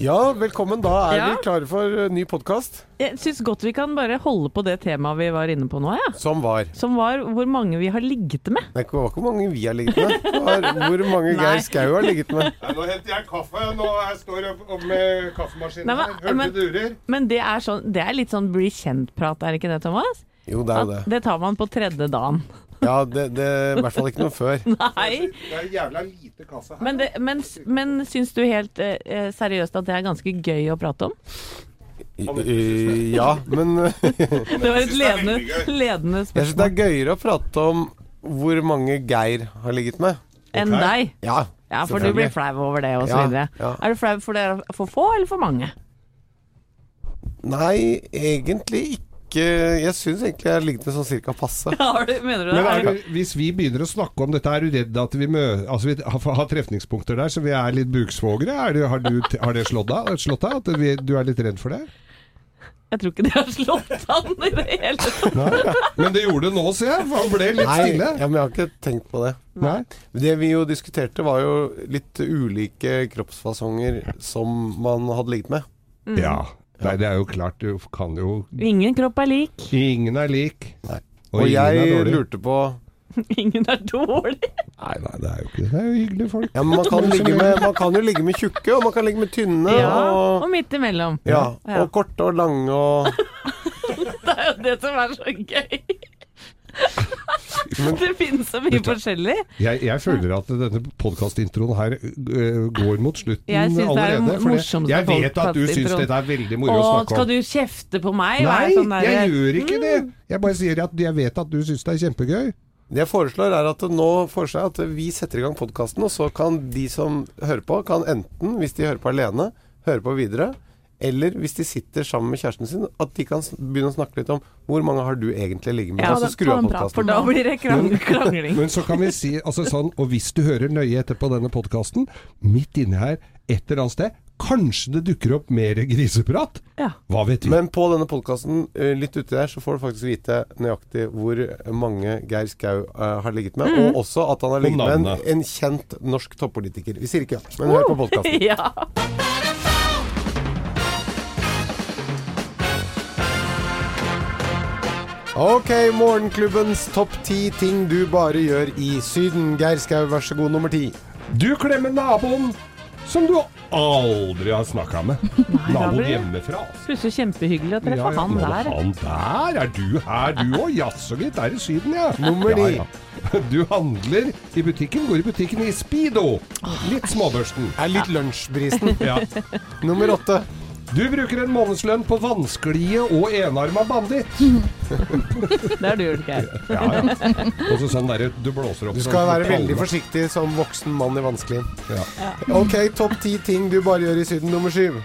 Ja, velkommen. Da er Ja. vi klare for eh, ny podkast. Jeg syns godt vi kan bare holde på det temaet vi var inne på nå, ja. Som var. Som var hvor mange vi har ligget med. Det var ikke hvor mange vi har ligget med. Det var hvor mange Nei. Geir Skau har ligget med. Nei, nå henter jeg kaffe. Nå her står jeg opp- opp med kaffemaskinen Nei, her. men- Hører men- du durer? Men det er, sånn, det er litt sånn bli kjent-prat, er ikke det, Thomas? Jo, det er jo At det. det tar man på tredje dagen. Ja, det, det er I hvert fall ikke noe før. Nei. Altså, Det er jævla lite kaffe her. Men, det, men, s- men syns du helt eh, eh, seriøst at det er ganske gøy å prate om? Eh, Ja, men eh, Det var et synes det er ledende, veldig ledende jeg syns det spørsmål. er gøyere å prate om hvor mange Geir har ligget med. Enn deg. Ja. Ja, for du Selvfølgelig. blir flau over det og så Ja, videre. ja. Er du flau for det er for få eller for mange? Nei, egentlig ikke. Jeg syns egentlig jeg har ligget med sånn cirka passe. Har du- Mener du det? Men Er er du- du, hvis vi begynner å snakke om dette, er du redd at vi, mø altså vi har, har trefningspunkter der, så vi er litt buksvogere? Er du, har, du, har det slått deg? Slått deg at vi, du er litt redd for det? Jeg tror ikke de har slått an i det hele tatt. Nei. Men det gjorde det nå, ser jeg. for Han ble litt Nei, stille. ja, men jeg har ikke tenkt på det. Nei. Det vi jo diskuterte, var jo litt ulike kroppsfasonger som man hadde ligget med. Mm. Ja. Nei, det er jo klart. Du kan jo Ingen kropp er lik, Ingen er lik. Nei. Og, Og ingen er jeg dårlig. lurte på ingen er dårlig. Nei, nei, det er jo ikke Det er jo hyggelige folk. Ja, men man kan, ligge med, man kan jo ligge med tjukke, og man kan ligge med tynne. Ja, og Og, midt imellom. ja, Ja. og korte og lange og Det er jo det som er så gøy. Det finnes så mye forskjellig. Jeg, jeg føler at denne podkastintroen her øh, går mot slutten Jeg synes det er den allerede. for morsomste jeg vet at du syns podcastintroen. dette er veldig moro Å, å snakke skal om. du kjefte på meg? Hva Nei, er sånn der- Mm. jeg gjør ikke det! Jeg bare sier at jeg vet at du syns det er kjempegøy. Det jeg foreslår, er at det nå foreslår jeg at vi setter i gang podkasten, og så kan de som hører på, kan enten, hvis de hører på alene, høre på videre. Eller hvis de sitter sammen med kjæresten sin, at de kan s- begynne å snakke litt om hvor mange har du egentlig ligget med. Ja, og så skru av For da podkasten. blir det krang- krangling. Men så kan vi si altså sånn, og hvis du hører nøye etter på denne podkasten, midt inni her, et eller annet sted, kanskje det dukker opp mer griseprat? Ja. Hva vet vi? Men på denne podkasten litt uti der, så får du faktisk vite nøyaktig hvor mange Geir Skau eh, har ligget med. Og også at han har ligget med en, Mm. navnet. en kjent norsk toppolitiker. Vi sier ikke ja, men hør på podkasten. Ja. Ok, Morgenklubbens topp ti ting du bare gjør i Syden. Geir Skau, vær så god, nummer ti. Du klemmer naboen som du aldri har snakka med. blir Naboen det- hjemmefra. altså. Plutselig kjempehyggelig å treffe han nå der. Han der! Er du her, du òg? Jaså, gitt. Er i Syden, ja. Nummer ni. Du handler i butikken, går i butikken i Speedo. Litt småbørsten. Er litt lunsjbrisen. Ja. nummer åtte. Du bruker en månedslønn på vanskelige og enarma banditt. Det har du gjort, Geir. Ja, ja. Og så sånn derre du blåser opp Du skal sånn være på veldig pallen. forsiktig som voksen mann i vanskelig. Ja. Ok, topp ti ting du bare gjør i Syden. Nummer syv.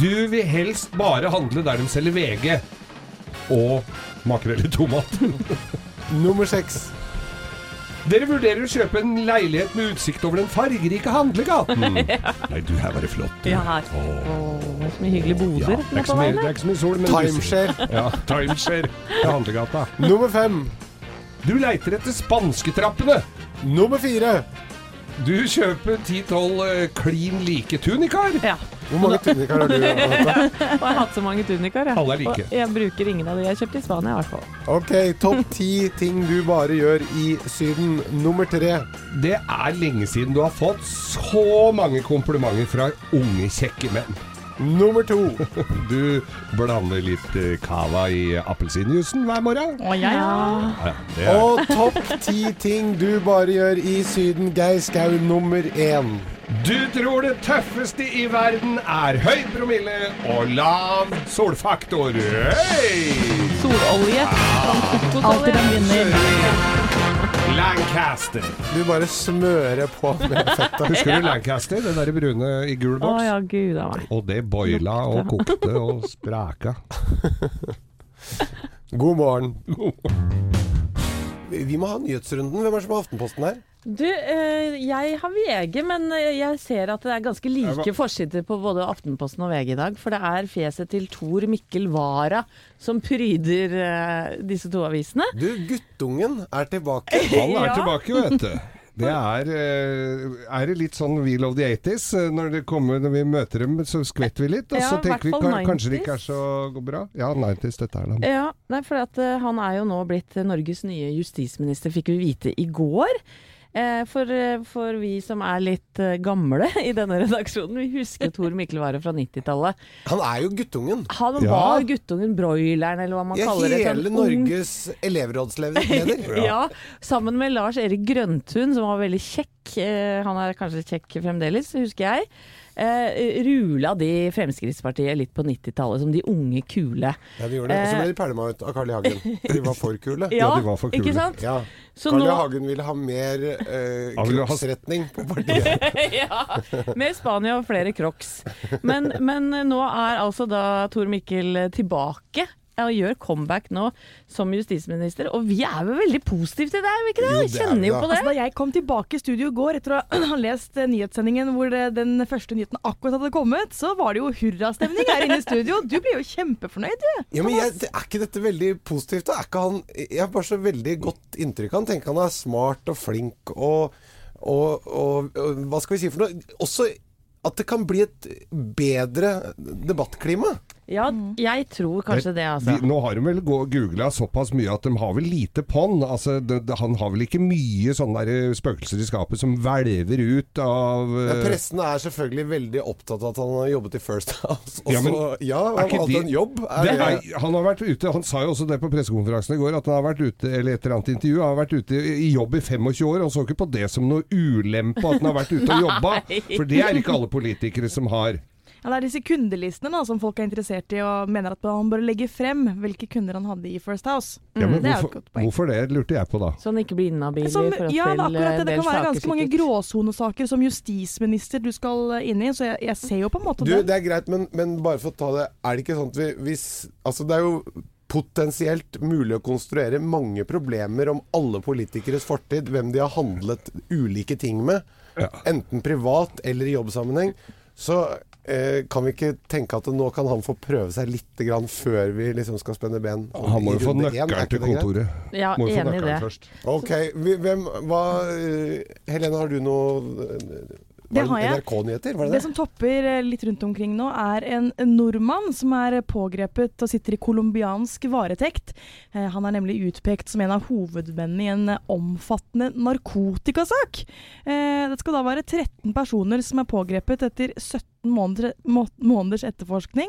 Du vil helst bare handle der de selger VG og makrell i tomat. Nummer seks. Dere vurderer å kjøpe en leilighet med utsikt over den fargerike handlegaten. Nei, du her var det flott. du. Ja, her. Åh, det er så mye hyggelige Ja, boder det, nede er ikke på så mye, veien. det er ikke så mye sol, men Timeshare. Du, ja, timeshare i handlegata. Nummer fem. Du leiter etter spansketrappene. Nummer fire. Du kjøper 10-12 eh, klin like tunikaer. Ja. Hvor mange tunikaer har du? Anette? Og jeg har hatt så mange tunikaer. jeg. Alle er like. Og jeg bruker ingen av de jeg har kjøpt i Spania, i hvert fall. Ok, topp ti ting du bare gjør i Syden. Nummer tre. Det er lenge siden du har fått så mange komplimenter fra unge, kjekke menn. Nummer to. Du blander litt eh, cava i appelsinjuicen hver morgen. ja. Ja, det er- Og topp ti ting du bare gjør i Syden. Geir Skau nummer én. Du tror det tøffeste i verden er høy promille og lav solfaktor. Høy! Sololje. Alltid den vinner. Lancaster. Du bare smører på med fettet. Husker du Lancaster, den der brune i gul Å boks? ja, gud a meg. Og det boila og kokte og spraka. God morgen. Vi må ha nyhetsrunden. Hvem er det som har Aftenposten her? Du, eh, jeg har VG, men eh, jeg ser at det er ganske like forsider på både Aftenposten og VG i dag. For det er fjeset til Tor Mikkel Wara som pryder eh, disse to avisene. Du, guttungen er tilbake. Han er Ja. tilbake, vet du. Det er, eh, er det litt sånn We Love the 80s. eh, Når, det kommer, når vi møter dem, så skvetter vi litt. Og Ja, så i hvert tenker vi fall ka- kanskje det 90s. ikke er så bra. Ja, 90s, dette er det. Ja, nei, for at, eh, han er jo nå blitt eh, Norges nye justisminister, fikk vi vite i går. Eh, for, eh, for vi som er litt eh, gamle i denne redaksjonen, vi husker Tor Mikkel Ware fra 90-tallet. Han er jo guttungen. Han Ja. var guttungen Broileren, eller hva man Ja, kaller det. sånn hele ung- Norges elevrådsleder. Ja, sammen med Lars Erik Grøntun, som var veldig kjekk. eh, Han er kanskje kjekk fremdeles, husker jeg. Eh, rula de Fremskrittspartiet litt på 90-tallet som de unge kule. Ja, de gjorde det. Og så ble de pælma ut av Carl I. Hagen. De var for kule. Ja, de var for kule. Ikke sant? Ja. Så Carl I. nå- Hagen ville ha mer eh, Han ville ha- kroppsretning på partiet. ja, med Spania og flere crocs. Men, men nå er altså da Tor Mikkel tilbake og gjør comeback nå som justisminister. Og vi er vel veldig positive til det, er vi ikke Jo, det? det er vi Kjenner jo da. på det. Altså, da jeg kom tilbake i studio i går etter å ha lest eh, nyhetssendingen hvor eh, den første nyheten akkurat hadde kommet, så var det jo hurrastemning her inne i studio. Du ble jo kjempefornøyd, du. Ja, men jeg, det- Er ikke dette veldig positivt? da? Er ikke han, jeg har bare så veldig godt inntrykk av han. Tenker han er smart og flink og, og, og, og Hva skal vi si for noe? Også at det kan bli et bedre debattklima. Ja, jeg tror kanskje det, altså. De, nå har de vel gå- googla såpass mye at de har vel lite på'n. Altså, det- det- han har vel ikke mye sånne der spøkelser i skapet som hvelver ut av Ja, eh, Pressen er selvfølgelig veldig opptatt av at han har jobbet i First House. Og Ja, men så, ja, er han ikke hadde de- en jobb. Er, Det er, han har vært ute, han sa jo også det på pressekonferansen i går, at han har vært ute eller et eller annet intervju, han har vært ute i i jobb i 25 år, og så ikke på det som noe ulempe at han har vært ute og jobba. For det er ikke alle politikere som har. Ja, det er disse kundelistene da, som folk er interessert i og mener at han bør legge frem hvilke kunder han hadde i First House. Ja, men det er jo et hvorfor, godt poeng. hvorfor det, lurte jeg på da. Sånn ikke blir inhabil i Som, forhold til ja, det er akkurat det. Det eh, kan være saker, ganske mange sikkert. gråsonesaker som justisminister du skal eh, inn i, så jeg, jeg ser jo på en måte du, det. det er greit, men, men bare for å ta det Er det ikke sånn at vi hvis, Altså, det er jo potensielt mulig å konstruere mange problemer om alle politikeres fortid, hvem de har handlet ulike ting med, enten privat eller i jobbsammenheng. Så eh, kan vi ikke tenke at nå kan han få prøve seg litt grann før vi liksom skal spenne ben? Han må i jo få runde én, er nøkkelen ikke til det greit? kontoret. Ja, Må jo få enig i det. nøkkelen først. Ok, vi- hvem, hva eh, Helene, har du noe eh, Det har jeg. NRK-nyheter, var det Det, det? som topper eh, litt rundt omkring nå, er en nordmann som er eh, pågrepet og sitter i colombiansk varetekt. Eh, Han er nemlig utpekt som en av hovedmennene i en eh, omfattende narkotikasak. Eh, Det skal da være 13 personer som er pågrepet etter 17 måneder, må- måneders etterforskning.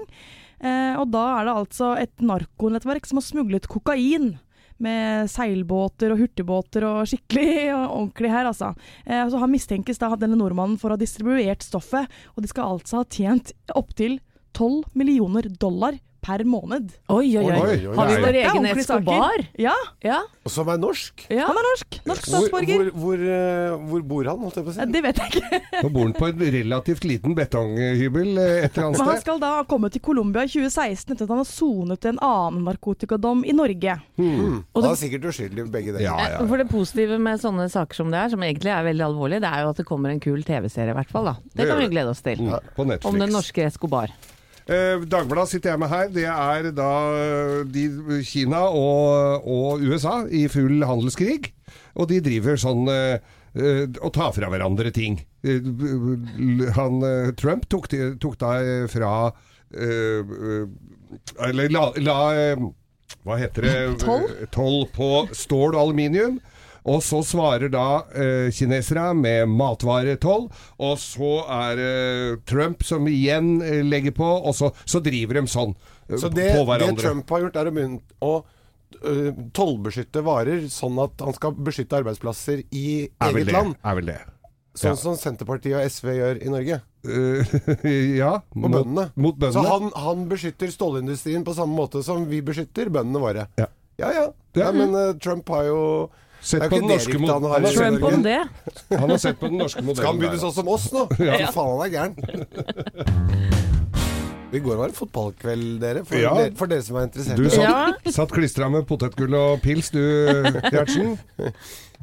Eh, Og da er det altså et narkonettverk som har smuglet kokain. Med seilbåter og hurtigbåter og skikkelig og ordentlig her, altså. Eh, så Han mistenkes da denne nordmannen for å ha distribuert stoffet, og de skal altså ha tjent opptil 12 millioner dollar per måned. Oi, oi, Oi, oi. oi, oi. Har vi Nei. vår Det er egen ordentlige saker. Escobar? Ja, Ja. Som er norsk? ja. han er norsk. Norsk Hvor, hvor, statsborger. hvor, eh, hvor bor han, holdt jeg på å si? Eh, Det vet jeg ikke. Nå bor han på en relativt liten betonghybel eh, et eller Men han annet sted. skal da ha kommet til Colombia i 2016 etter at han har sonet en annen narkotikadom i Norge. Og det er sikkert uskyldig begge deler. Mm. Ja, ja, ja. For det positive med sånne saker som det er, som egentlig er veldig alvorlig, det er jo at det kommer en kul TV-serie i hvert fall, da. Det Det kan gjør vi glede oss til. Mm, På Netflix. Om den norske Escobar. Eh, Dagbladet sitter jeg med her. Det er da eh, de, Kina og, og USA i full handelskrig. Og de driver sånn eh, eh, og tar fra hverandre ting. Eh, han, eh, Trump tok, de- tok da eh, fra eh, eh, Eller la, la eh, Hva heter det? Toll? Eh, Toll på stål og aluminium. Og så svarer da eh, kinesere med matvaretoll, og så er det Trump som igjen eh, legger på, og så, så driver de sånn eh, Så det, på det hverandre. Trump har gjort, er å begynne å eh, tollbeskytte varer, sånn at han skal beskytte arbeidsplasser i er vel eget det. land. Er vel det. Sånn Ja. som Senterpartiet og SV gjør i Norge. Eh, ja. Og mot- bøndene. Mot bøndene. Så han, han beskytter stålindustrien på samme måte som vi beskytter bøndene våre. Ja. ja. ja. Ja. Nei, men eh, Trump har jo Sett Det er på jo den ikke norske Erik mod- da, han har han har i sett- Norge. Trump om det. Han har sett på den norske modellen. Skal han begynne der, sånn som oss nå? Fy faen, han er gæren. I går var det fotballkveld, dere. For, Ja. dere, for dere som er da. interessert. Du satt, Ja. satt klistra med potetgull og pils, du Gjertsen.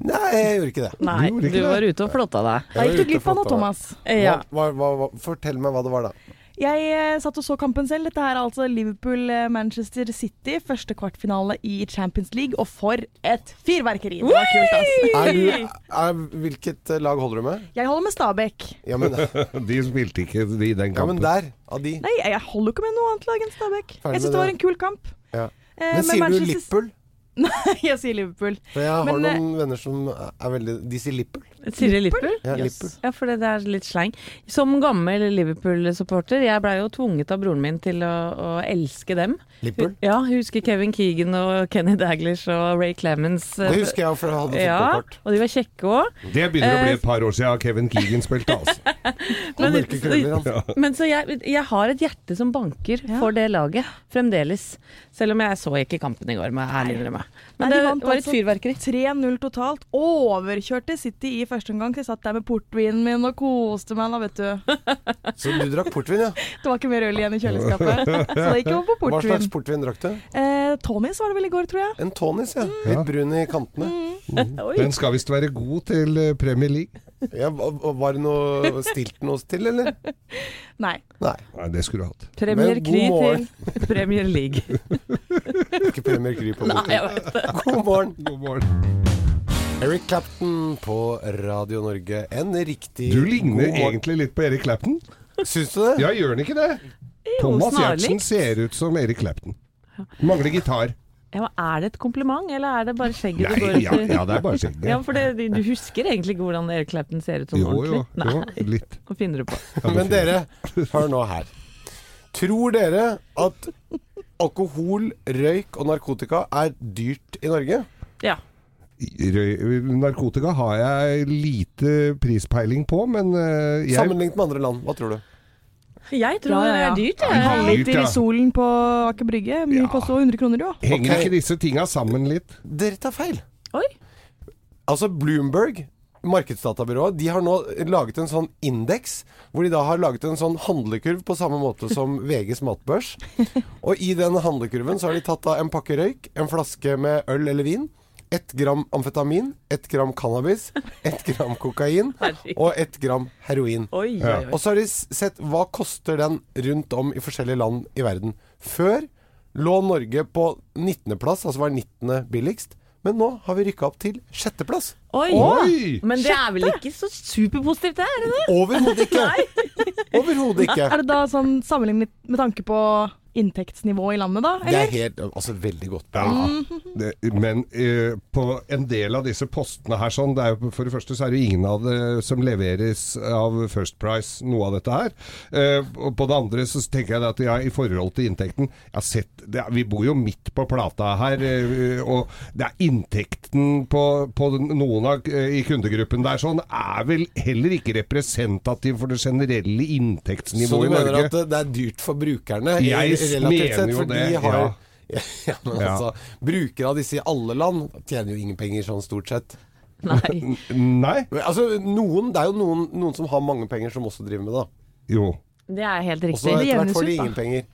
Nei, jeg gjorde ikke det. Nei, gjorde ikke du det. var ute og flotta deg. Da Jeg var gikk du ute glipp av og noe, flotta meg. Thomas. Ja. Hva, hva, hva, fortell meg hva det var, da. Jeg eh, satt og så kampen selv. Dette her er altså Liverpool-Manchester City. Første kvartfinale i Champions League. Og for et fyrverkeri! Det var kult, ass. Er du, er, hvilket eh, lag holder du med? Jeg holder med Stabæk. Ja, men, De spilte ikke i den ja, men kampen. der, av de. Nei, jeg holder jo ikke med noe annet lag enn Stabæk. Ferdig Jeg syns med det var det. en kul kamp. Ja. Eh, Men sier du Liverpool? jeg sier Liverpool. For jeg har Men, eh, noen venner som er veldig De sier Liverpool. Siri Lippel? Ja, Yes. Liverpool. Ja, for det det er litt sleng. Som gammel Liverpool-supporter, jeg blei jo tvunget av broren min til å, å elske dem. Liverpool. Ja, jeg husker Kevin Keegan og Kenny Daglish og Ray Clemens. eh, Det husker jeg, for jeg hadde Ja, fotballkort. og de var kjekke òg. Det begynner Eh, å bli et par år siden Kevin Keegan spilte, altså. Og mørke krøller. Han. Men så jeg, jeg har et hjerte som banker Ja. for det laget, fremdeles. Selv om jeg så ikke kampen i går, må jeg ærlig innrømme. Men Nei, de det vant var et altså fyrverkeri. 3-0 totalt. Overkjørte City i første omgang. så Jeg satt der med portvinen min og koste meg. Da, vet du. Så du drakk portvin, ja. Det var ikke mer øl igjen i kjøleskapet. Så det gikk over på Hva slags portvin. portvin drakk du? Eh, Tommys var det vel i går, tror jeg. En tonis, ja. Litt brun i kantene. Den skal visst være god til eh, Premier League. Ja, hva- hva- var det noe stilt noe til, eller? Nei. Nei. Nei, det skulle du hatt. Premier Men god Kry morgen. til Premier League. Ikke Premier Kry på Nei, bordet. jeg vet det. God morgen. God morgen. Eric Clapton på Radio Norge. En riktig Du ligner god morgen. egentlig litt på Erik Clapton. Syns du det? Ja, gjør han ikke det? Thomas snarlig. Giertsen ser ut som Erik Clapton. Mangler gitar. Ja, men er det et kompliment, eller er det bare skjegget Nei, du går ja, ut i? ja, det er bare skjegget. Ja, for det, du husker egentlig ikke hvordan Eric Clapton ser ut sånn Jo, jo, ordentlig? jo, litt. Hva finner du på? Ja, Men dere, hør nå her. Tror dere at alkohol, røyk og narkotika er dyrt i Norge? Ja. Røy- Narkotika har jeg lite prispeiling på, men eh, jeg Sammenlignet med andre land, hva tror du? Jeg tror Ja, ja, ja. det er dyrt, Ja, jeg. halv liter Halvliter ja. i solen på Aker Brygge. Mye Ja. koster jo 100 kroner, jo. henger Ok. ikke disse tinga sammen litt. Dere tar feil. Oi. Altså Bloomberg, markedsdatabyrået, de har nå laget en sånn indeks hvor de da har laget en sånn handlekurv på samme måte som VGs matbørs. Og i den handlekurven så har de tatt da en pakke røyk, en flaske med øl eller vin, ett gram amfetamin, ett gram cannabis, ett gram kokain og ett gram heroin. Oi, oi, Ja. oi. Og så har de s- sett hva koster den rundt om i forskjellige land i verden. Før lå Norge på 19.-plass, altså var 19. billigst. Men nå har vi rykka opp til sjetteplass. Oi. Oi! Men det er vel ikke så superpositivt, det? er det det? Overhodet ikke! Overhodet ikke. Er det da sånn sammenlignet med tanke på inntektsnivået i landet, da? Det Eller? er helt Altså, veldig godt. Ja. Det, men eh, på en del av disse postene her sånn, det er jo, For det første så er det jo ingen av det som leveres av First Price noe av dette her. Eh, og på det andre så tenker jeg det at ja, i forhold til inntekten jeg har sett, det, er- Vi bor jo midt på plata her, eh, og det er inntekten på, på noen av eh, i kundegruppen der sånn er vel heller ikke representativ for det Så generelle du inntektsnivået i Sånn mener Norge. at det er dyrt for brukerne? Jeg i- relativt mener sett, jo for det, De har, ja. ja. men Ja. altså, brukere av disse i alle land tjener jo ingen penger sånn stort sett. Nei. Nei? Men, Altså, noen, det er jo noen, noen som har mange penger, som også driver med det. da. Jo. Det er helt Og så etter riktig. hvert jevnes får de ut, da. ingen penger.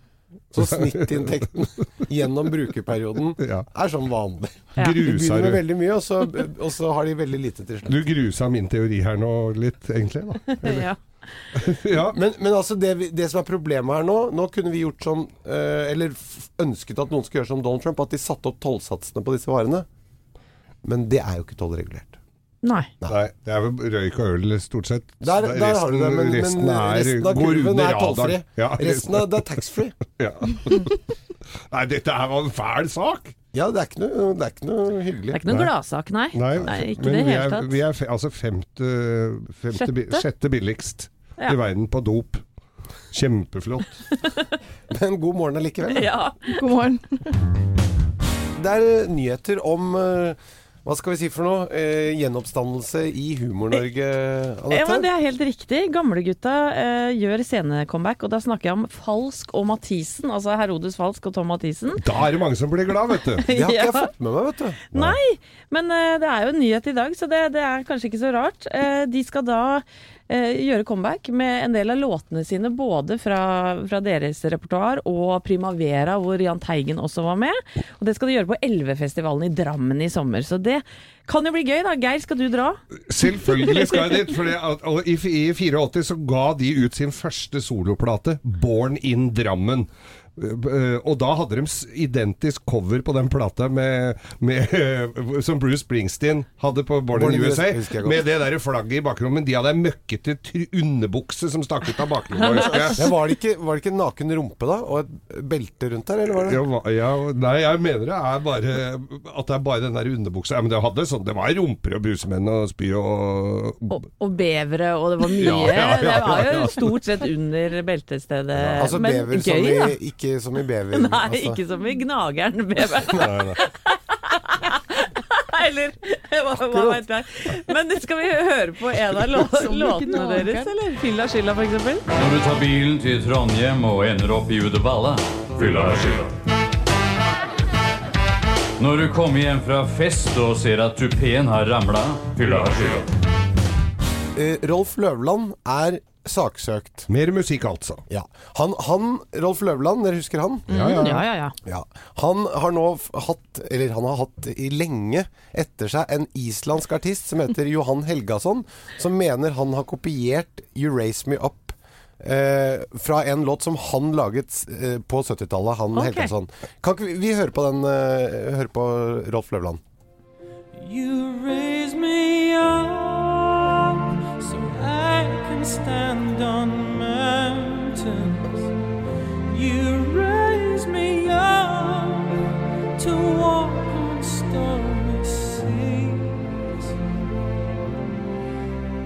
Så snittinntekten gjennom brukerperioden Ja. er sånn vanlig. Ja. De Grusa begynner med du. veldig mye, og så, og så har de veldig lite til slutt. Du grusa min teori her nå litt, egentlig. da. Ja. Ja. Men, men altså det, vi, det som er problemet her nå Nå kunne vi gjort som eh, Eller f- ønsket at noen skulle gjøre som Donald Trump, at de satte opp tollsatsene på disse varene. Men det er jo ikke tollregulert. Nei. Nei, det er vel røyk og øl stort sett. Der, der har du det, men, men resten, av går kurven under er radaren. tollfri. Ja, Resten av, det er taxfree. ja. Nei, dette her var en fæl sak! Ja, det er ikke noe, det er ikke noe Det hyggelig. er ikke noen Nei. gladsak, nei. Nei, Ikke i det men vi hele er, tatt. vi er fe, altså femte, femte bi- Sjette? sjette billigst Ja. i verden på dop. Kjempeflott. Men god morgen allikevel. Ja. God morgen. Det er eh, nyheter om eh, hva skal vi si for noe? Eh, gjenoppstandelse i Humor-Norge, Eh, ja, men Anette? det er helt riktig. Gamlegutta eh, gjør scenecomeback, og da snakker jeg om Falsk og Mathisen. Altså Herodes Falsk og Tom Mathisen. Da er det mange som blir glad, vet du. Det har ikke jeg Ja. fått med meg, vet du. Nei, men eh, det er jo en nyhet i dag, så det, det er kanskje ikke så rart. Eh, de skal da eh, gjøre comeback med en del av låtene sine, både fra, fra deres repertoar og Primavera, hvor Jahn Teigen også var med. Og det skal de gjøre på Elvefestivalen i Drammen i sommer. Så det Kan jo bli gøy, da. Geir, skal du dra? Selvfølgelig skal jeg dit. For det, at- og i, I 84 så ga de ut sin første soloplate, 'Born in Drammen'. Eh, Og da hadde de s- identisk cover på den plata med, med, eh, som Bruce Springsteen hadde på Born, Born in in USA. USA, husker jeg godt. Med det der flagget i bakrommet. De hadde ei møkkete tr- underbukse som stakk ut av bakrommet. husker jeg. Ja, var, det ikke, var det ikke en naken rumpe da, og et belte rundt der, eller var det? Ja, hva- ja, nei, jeg mener det er bare At det er bare den der underbuksa. Ja, men det, hadde sånn, det var rumper og busemenn og spy og Og, og bevere, og det var mye. Ja, ja, ja, Det var ja, ja. jo stort sett under beltestedet. Altså Men bever som gøy, da. i, ikke som i bever. Nei, altså. ikke som i gnageren beveren. Nei, nei. Eller hva, hva vet jeg. Men skal vi høre på en av lå låtene deres, eller? Fylla skylda, for eksempel? Når du tar bilen til Trondheim og ender opp i Uddevalla Fylla er skylda. Når du kommer hjem fra fest og ser at tupeen har ramla Fylla er skylda. Eh, Rolf Løvland er saksøkt. Mer musikk, altså. Ja. Han, han, Rolf Løvland, dere husker han? Ja, ja. Mm, Ja, ja, ja. Ja. Han har nå f- hatt, eller han har hatt i lenge etter seg en islandsk artist som heter Johan Helgason, som mener han har kopiert You Raise Me Up eh, fra en låt som han laget eh, på 70-tallet, han Ok. Helgason. Kan ikke vi, vi høre på den eh, Høre på Rolf Løvland? You raise me up so I can stand on mountains. You raise me up to walk on stormy seas.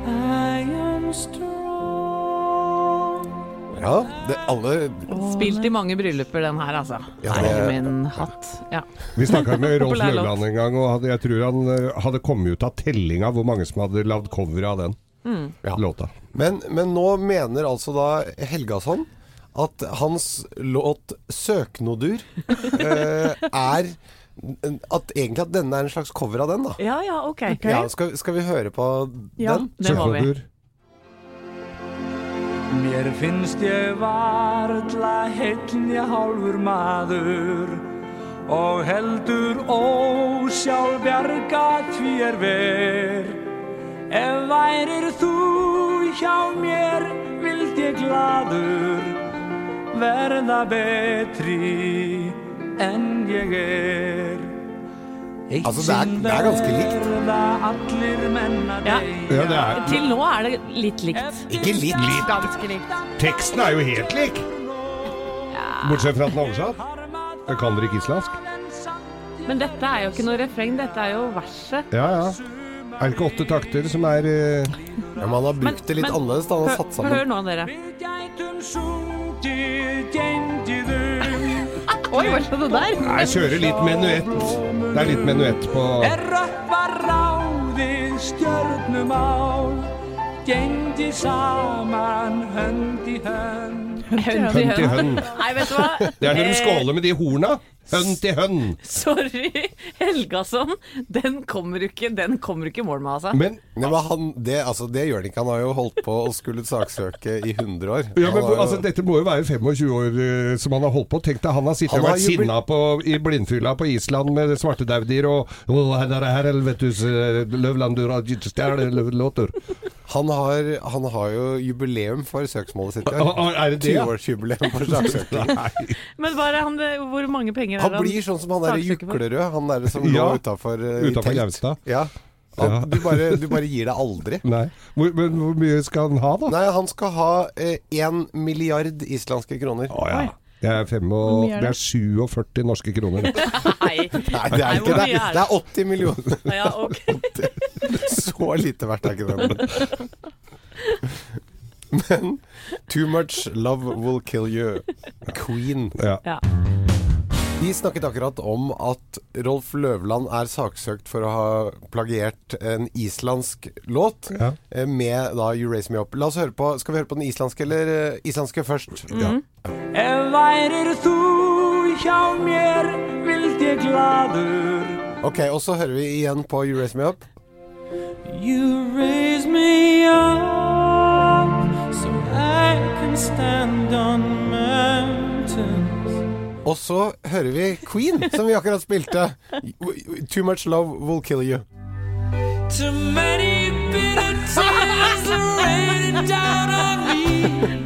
I am strong. Ja, det, alle Spilt i mange brylluper, den her, altså. Ja, Nei, det- min hatt. Ja. Vi snakka med Rolf Populær låt. Løvland en gang, og hadde, jeg tror han eh, hadde kommet ut av tellinga hvor mange som hadde lagd cover av den Mm. Ja. låta. Men, men nå mener altså da Helgason at hans låt 'Søknodur' eh, er at egentlig at denne er en slags cover av den, da. ja, ja, ok. Ja, skal, skal vi høre på Ja. den? Det må vi. Sjøfrodur. Mér finnst ég varla heilnja hálfur maður og heldur ósjálfbjarga því er ver. Ef værir þú hjá mér, vild ég gladur verða betri en ég er. Eitt Altså, det er- sinn det er ganske likt. verða allir menn að Ja. deyja. Ja, det er, Til nå er det litt likt. Ikke litt. Ganske likt. teksten er jo helt lik! Bortsett fra at den er oversatt. Jeg kan dere ikke islandsk? Men dette er jo ikke noe refreng, dette er jo verset. Ja, ja. Er det ikke åtte takter som er eh, Ja, men han har brukt det litt men- annerledes. Da. Han har Hør, satt hør sammen nå, dere. Við gætum sungið, gengið um Oi, hva skjedde der? Nei, kjører litt menuett. Det er litt menuett på Er rökkvar ráðið stjörnum á Gengið saman hönd í hønd Hønt i Hønt i hønt. hønn. Nei, vet du hva? Det er når de Eh, skåler med de horna. Hønn til hønn. Sorry, Helgason. Den kommer du ikke, den kommer du ikke i mål med, altså. Men, Nei, men han, det, altså, det gjør det ikke. Han har jo holdt på å skulle saksøke i 100 år. ja, men Han har jo- altså, dette må jo være 25 år eh, som han har holdt på. Tenk deg, han har sittet Han og har vært jo blitt- sinna på, i blindfylla på Island med svartedaudier og «Å, her er det her, helvetes eh, Løvland, du har gitt stjerne, løv- låter». han, har, han har jo jubileum for søksmålet sitt. Ah, ah, Er det det? ja? 20-årsjubileum for saksøking. Men hva er det han, hvor mange penger er Han det blir sånn som han der saksøker for? Juklerød, han der som lå Ja. utafor Utenfor Gaustad. Ja. Ja. At du, bare, du bare gir deg aldri. Nei. Hvor, men hvor mye skal han ha, da? Nei, han skal ha én milliard islandske kroner. Å ja. Det er, fem og, mye er det er 47 norske kroner. Nei, Nei. det Nei, er hvor ikke det. mye er det? Det er 80 millioner. Ja, ok. Så lite verdt er ikke det. Men Too much love will kill you. Queen. Ja. Ja. Vi snakket akkurat om at Rolf Løvland er saksøkt for å ha plagiert en islandsk låt Ja. eh, med da You Raise Me Up. La oss høre på, Skal vi høre på den islandske eller eh, islandske først? Ja. Ef værir þú hjá mér, vild ég gladur Ok, og så hører vi igjen på You Raise Me Up. You raise me up so I can stand on mountains. Og så hører vi Queen, som vi akkurat spilte. Too much love will kill you. Too many bitter tears are raining down on me.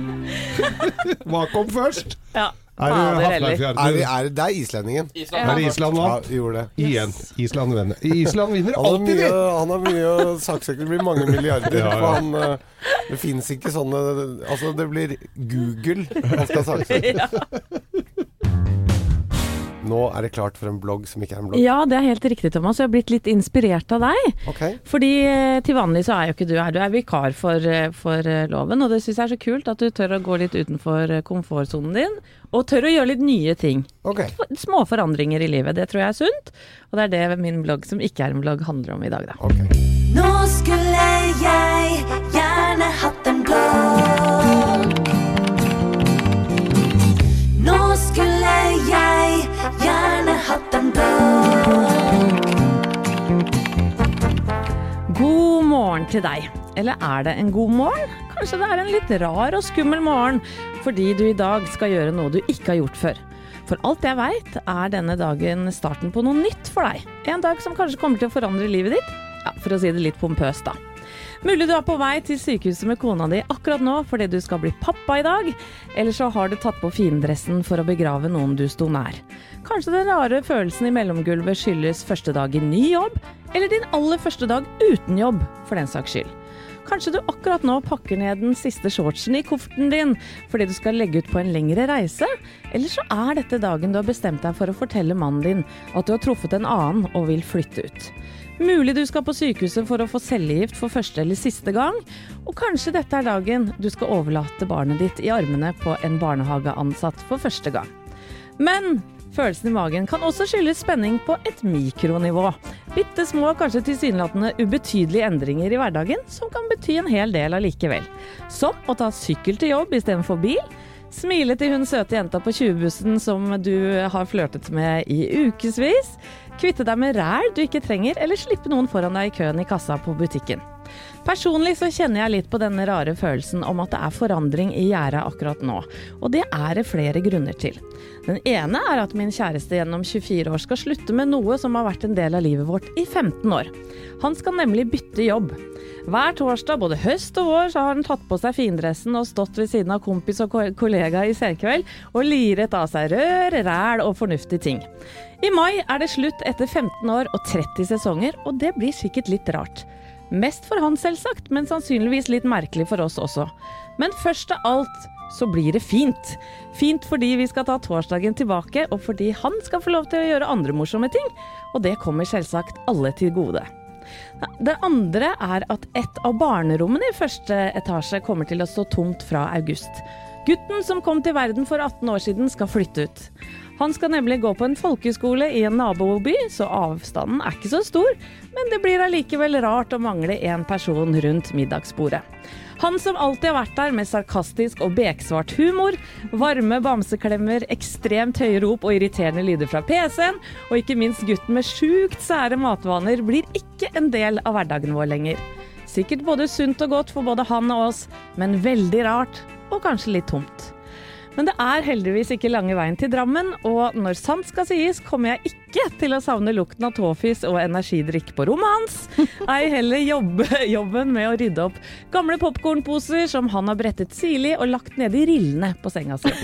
Hva kom først? Ja, Er det fader heller. Er, Hatlafjærden? det- er det det er islendingen? Er det Island nå? Ja, gjorde det. Igjen. Island vinner. Island vinner Han har alltid, mye, de! han har mye å saksøke. Det blir mange milliarder. Ja, ja. For han, eh, det fins ikke sånne Altså, det blir Google han skal saksøke. Nå er det klart for en blogg som ikke er en blogg. Ja, det er helt riktig, Thomas. Jeg har blitt litt inspirert av deg. Ok, Fordi eh, til vanlig så er jo ikke du her, du er vikar for, eh, for eh, loven. Og det syns jeg er så kult at du tør å gå litt utenfor eh, komfortsonen din. Og tør å gjøre litt nye ting. ok. Små forandringer i livet. Det tror jeg er sunt. Og det er det min blogg, som ikke er en blogg, handler om i dag, da. ok. Nå skulle jeg gjerne hatt en blogg. Nå skulle jeg gjerne hatt en blogg. God morgen til deg. Eller er det en god morgen? Kanskje det er en litt rar og skummel morgen fordi du i dag skal gjøre noe du ikke har gjort før. For alt jeg veit, er denne dagen starten på noe nytt for deg. En dag som kanskje kommer til å forandre livet ditt. Ja, for å si det litt pompøst, da. Mulig du er på vei til sykehuset med kona di akkurat nå fordi du skal bli pappa i dag, eller så har du tatt på findressen for å begrave noen du sto nær. Kanskje den rare følelsen i mellomgulvet skyldes første dag i ny jobb, eller din aller første dag uten jobb, for den saks skyld. Kanskje du akkurat nå pakker ned den siste shortsen i kofferten din fordi du skal legge ut på en lengre reise, eller så er dette dagen du har bestemt deg for å fortelle mannen din at du har truffet en annen og vil flytte ut. Mulig du skal på sykehuset for å få cellegift for første eller siste gang. Og kanskje dette er dagen du skal overlate barnet ditt i armene på en barnehageansatt for første gang. Men følelsen i magen kan også skyldes spenning på et mikronivå. Bitte små, kanskje tilsynelatende ubetydelige endringer i hverdagen som kan bety en hel del allikevel. Som å ta sykkel til jobb istedenfor bil. Smile til hun søte jenta på 20-bussen som du har flørtet med i ukevis. Kvitte deg med ræl du ikke trenger, eller slippe noen foran deg i køen i kassa på butikken. Personlig så kjenner jeg litt på denne rare følelsen om at det er forandring i gjerdet akkurat nå, og det er det flere grunner til. Den ene er at min kjæreste gjennom 24 år skal slutte med noe som har vært en del av livet vårt i 15 år. Han skal nemlig bytte jobb. Hver torsdag, både høst og vår, så har han tatt på seg findressen og stått ved siden av kompis og ko- kollega i senkveld og liret av seg rør, ræl og fornuftige ting. I mai er det slutt etter 15 år og 30 sesonger, og det blir sikkert litt rart. Mest for han selvsagt, men sannsynligvis litt merkelig for oss også. Men først av alt så blir det fint. Fint fordi vi skal ta torsdagen tilbake, og fordi han skal få lov til å gjøre andre morsomme ting. Og det kommer selvsagt alle til gode. Det andre er at et av barnerommene i første etasje kommer til å stå tomt fra august. Gutten som kom til verden for 18 år siden skal flytte ut. Han skal nemlig gå på en folkeskole i en naboby, så avstanden er ikke så stor, men det blir allikevel rart å mangle én person rundt middagsbordet. Han som alltid har vært der med sarkastisk og beksvart humor, varme bamseklemmer, ekstremt høye rop og irriterende lyder fra PC-en, og ikke minst gutten med sjukt sære matvaner, blir ikke en del av hverdagen vår lenger. Sikkert både sunt og godt for både han og oss, men veldig rart, og kanskje litt tomt. Men det er heldigvis ikke lange veien til Drammen, og når sant skal sies, kommer jeg ikke til å savne lukten av tåfis og energidrikk på rommet hans. Ei heller jobbe, jobben med å rydde opp gamle popkornposer som han har brettet sirlig og lagt nedi rillene på senga si.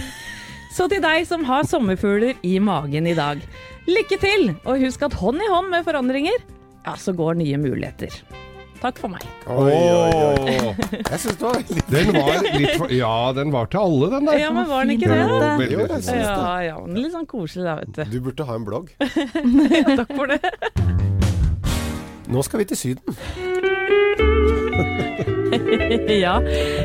Så til deg som har sommerfugler i magen i dag. Lykke til, og husk at hånd i hånd med forandringer, ja, så går nye muligheter. Takk for meg. Oi, oi, oi. Åh, Jeg syns det var veldig Den var litt for Ja, den var til alle, den der. Ja, men var den ikke det? Jo, da? Jo, jeg veldig. synes det. Ja, ja, men litt sånn koselig da, vet du. Du burde ha en blogg. Takk for det. Nå skal vi til Syden. Ja.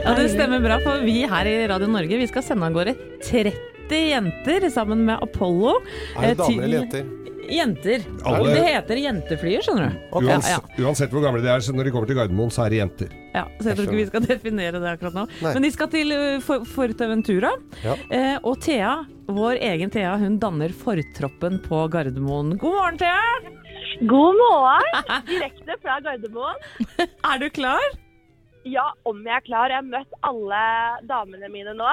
ja, det stemmer bra, for vi her i Radio Norge vi skal sende av gårde 30 jenter sammen med Apollo. Er eh, det damer eller til- jenter? Jenter. Alle- Det heter jenteflyer, skjønner du. Ja, ja. Uansett, uansett hvor gamle de er, så når de kommer til Gardermoen, så er det jenter. Ja, så jeg tror ikke vi skal definere det akkurat nå. Nei. Men de skal til eh, For- Forteventura. Ja. Eh, og Thea, vår egen Thea, hun danner fortroppen på Gardermoen. God morgen, Thea! God morgen! Direkte fra Gardermoen. Er du klar? Ja, om jeg er klar. Jeg har møtt alle damene mine nå.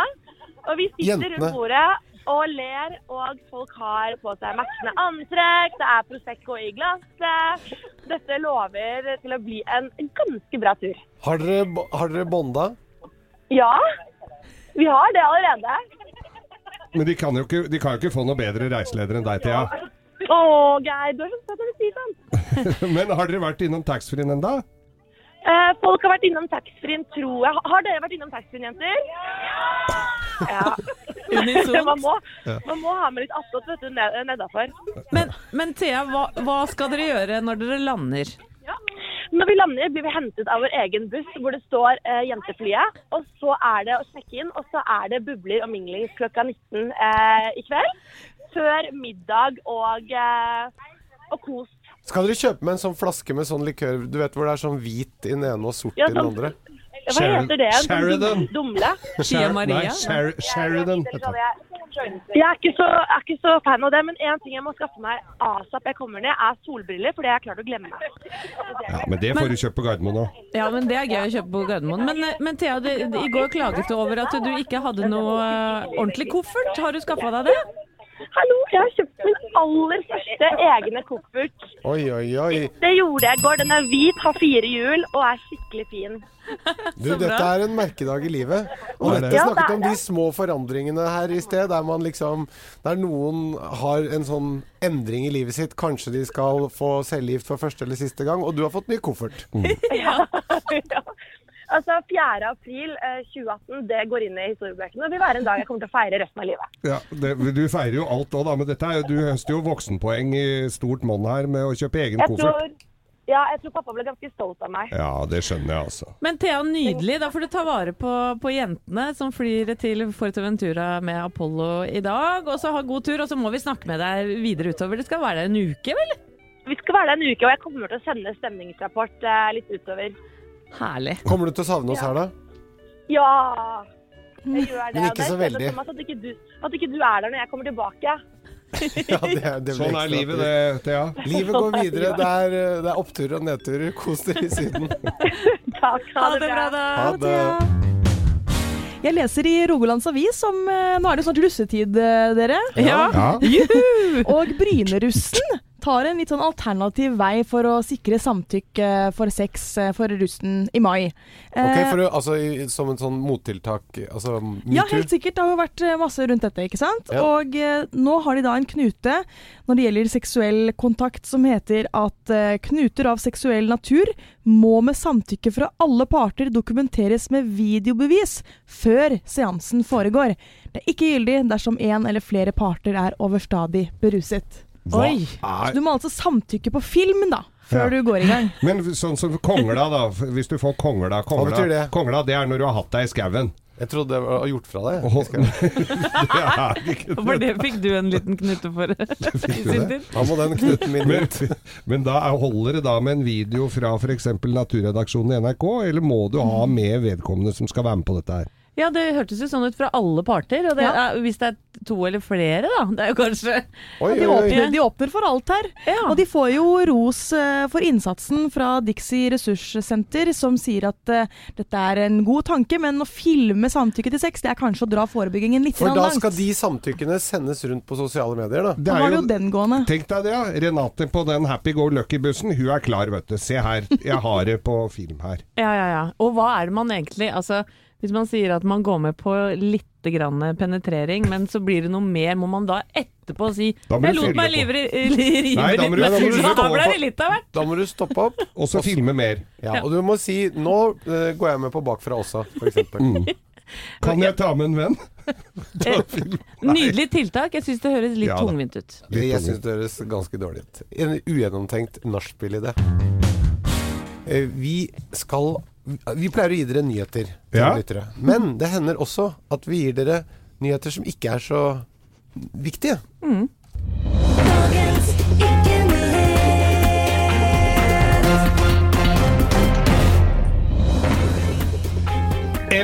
Og vi sitter Jentene. rundt bordet og ler, og folk har på seg matchende antrekk, det er Prosecco i glasset. Dette lover til å bli en en ganske bra tur. Har dere, bo- har dere bonda? Ja, vi har det allerede. Men de kan jo ikke, de kan jo ikke få noe bedre reiseleder enn deg, Thea. Å, Geir, du er så søt når du sier sånn. Men har dere vært innom taxfree-en ennå? Eh, folk har vært innom taxfree-en, tror jeg. Har dere vært innom taxfree-en, jenter? Ja. Man må, man må ha med litt attåt, vet du, ned- nedafor. Men, men Thea, hva, hva skal dere gjøre når dere lander? Når vi lander, blir vi hentet av vår egen buss hvor det står eh, jenteflyet. Og så er det å sjekke inn, og så er det bubler og mingling klokka 19 eh, i kveld. Før middag og, eh, og kos. Skal dere kjøpe med en sånn flaske med sånn likør Du vet hvor det er sånn hvit i den ene og sort Ja, i den sånn- andre? Hva Sheridan- heter det? Sånn Sheridan. dum- Dumle? Shia Maria? Nei, Sher Sheridan. heter det. Jeg er, ikke så, jeg er ikke så fan av det, men en ting jeg må skaffe meg asap jeg kommer ned, er solbriller, for det har jeg klart å glemme. Ja, men det får du kjøpt på Gardermoen òg. Ja, men Det er gøy å kjøpe på Gardermoen. Men, eh, men Thea, det, det, i går klaget du over at du ikke hadde noe eh, ordentlig koffert. Har du skaffa deg det? Hallo, jeg har kjøpt min aller første egne koffert. Oi, oi, oi. Det gjorde jeg i går. Den er hvit, har fire hjul og er skikkelig fin. Du, dette er en merkedag i livet. Og Ja, dette det er snakket om det. de små forandringene her i sted, der man liksom Der noen har en sånn endring i livet sitt. Kanskje de skal få cellegift for første eller siste gang, og du har fått ny koffert. Ja. Altså, 4. april eh, 2018, det går inn i historiebøkene og vil være en dag jeg kommer til å feire resten av livet. Ja, det, du feirer jo alt òg, da. Men dette er, jo- du høster jo voksenpoeng i stort monn her med å kjøpe egen Jeg koffert. tror, ja, jeg tror pappa ble ganske stolt av meg. Ja, det skjønner jeg, altså. Men Thea, nydelig. Da får du ta vare på, på jentene som flyr til Forteventura med Apollo i dag. Og så ha god tur, og så må vi snakke med deg videre utover. Det skal være der en uke, vel? Vi skal være der en uke, og jeg kommer til å sende stemningsrapport eh, litt utover. Herlig. Kommer du til å savne oss her, da? Ja, Men jeg gjør det. ikke og det er så spennende veldig. for meg At ikke, du, at ikke du er der når jeg kommer tilbake. Ja, det, det blir Sånn er ekstra livet, trist. det, Thea. Livet går videre. Det er, eh, det er oppturer og nedturer. Kos dere i Syden. Takk, Ha det bra, da. Ha det. Jeg leser i Rogalands Avis om eh, Nå er det snart russetid, eh, dere. Ja. Og Brynerussen tar en litt sånn alternativ vei for å sikre samtykke for sex eh, for russen i mai. Ok, Eh, for, å- altså, i- som en sånn mottiltak Altså ja, metoo. helt sikkert. Det har jo vært eh, masse rundt dette. ikke sant? Ja. Og eh, nå har de da en knute når det gjelder seksuell kontakt som heter at eh, knuter av seksuell natur må med samtykke fra alle parter dokumenteres med videobevis før seansen foregår. Det er ikke gyldig dersom én eller flere parter er overstadig beruset. Hva Så er du må altså samtykke på filmen da, Ja. før du går i gang. Men sånn som kongla, da. Hvis du får kongla Kongla, betyr det? kongla det er når du har hatt deg i skauen. Jeg trodde jeg var gjort fra deg. Åh, det er ikke For det fikk du en liten knute for i sin tid. Da må den knuten min Men, ut. men da er- holder det da med en video fra f.eks. Naturredaksjonen i NRK, eller må du Mm. ha med vedkommende som skal være med på dette her? Ja, det hørtes jo sånn ut fra alle parter. Og det Ja. er, hvis det er to eller flere, da. Det er jo kanskje Oi, De oi, oi. åpner, de åpner for alt her. Ja. Og de får jo ros eh, for innsatsen fra Dixie Ressurssenter, som sier at eh, dette er en god tanke, men å filme samtykke til sex, det er kanskje å dra forebyggingen litt For grann da langt. skal de samtykkene sendes rundt på sosiale medier, da. Det Da er har du jo, jo den gående. tenk deg det, ja. Renate på den Happy Go Lucky-bussen, hun er klar, vet du. Se her, jeg har det på film her. Ja, ja, ja. Og hva er det man egentlig Altså, hvis man sier at man går med på lite grann penetrering, men så blir det noe mer, må man da etterpå si Da må du Jeg fylle lot meg på." livre, eh, rive Nei, da litt må du- med da må du fylla, fylle da på. ble det litt av hvert. Da må du stoppe opp. Og så filme mer. Ja, og du må si 'nå eh, går jeg med på bakfra også', f.eks. Kan jeg ta med en venn? Nydelig tiltak. Jeg syns det høres litt Ja da. tungvint ut. Det jeg syns det høres ganske dårlig ut. En ugjennomtenkt nachspiel-idé. Eh, Vi skal Vi pleier å gi dere nyheter til Ja. lyttere. Men det hender også at vi gir dere nyheter som ikke er så viktige. Dagens ikke nyhet.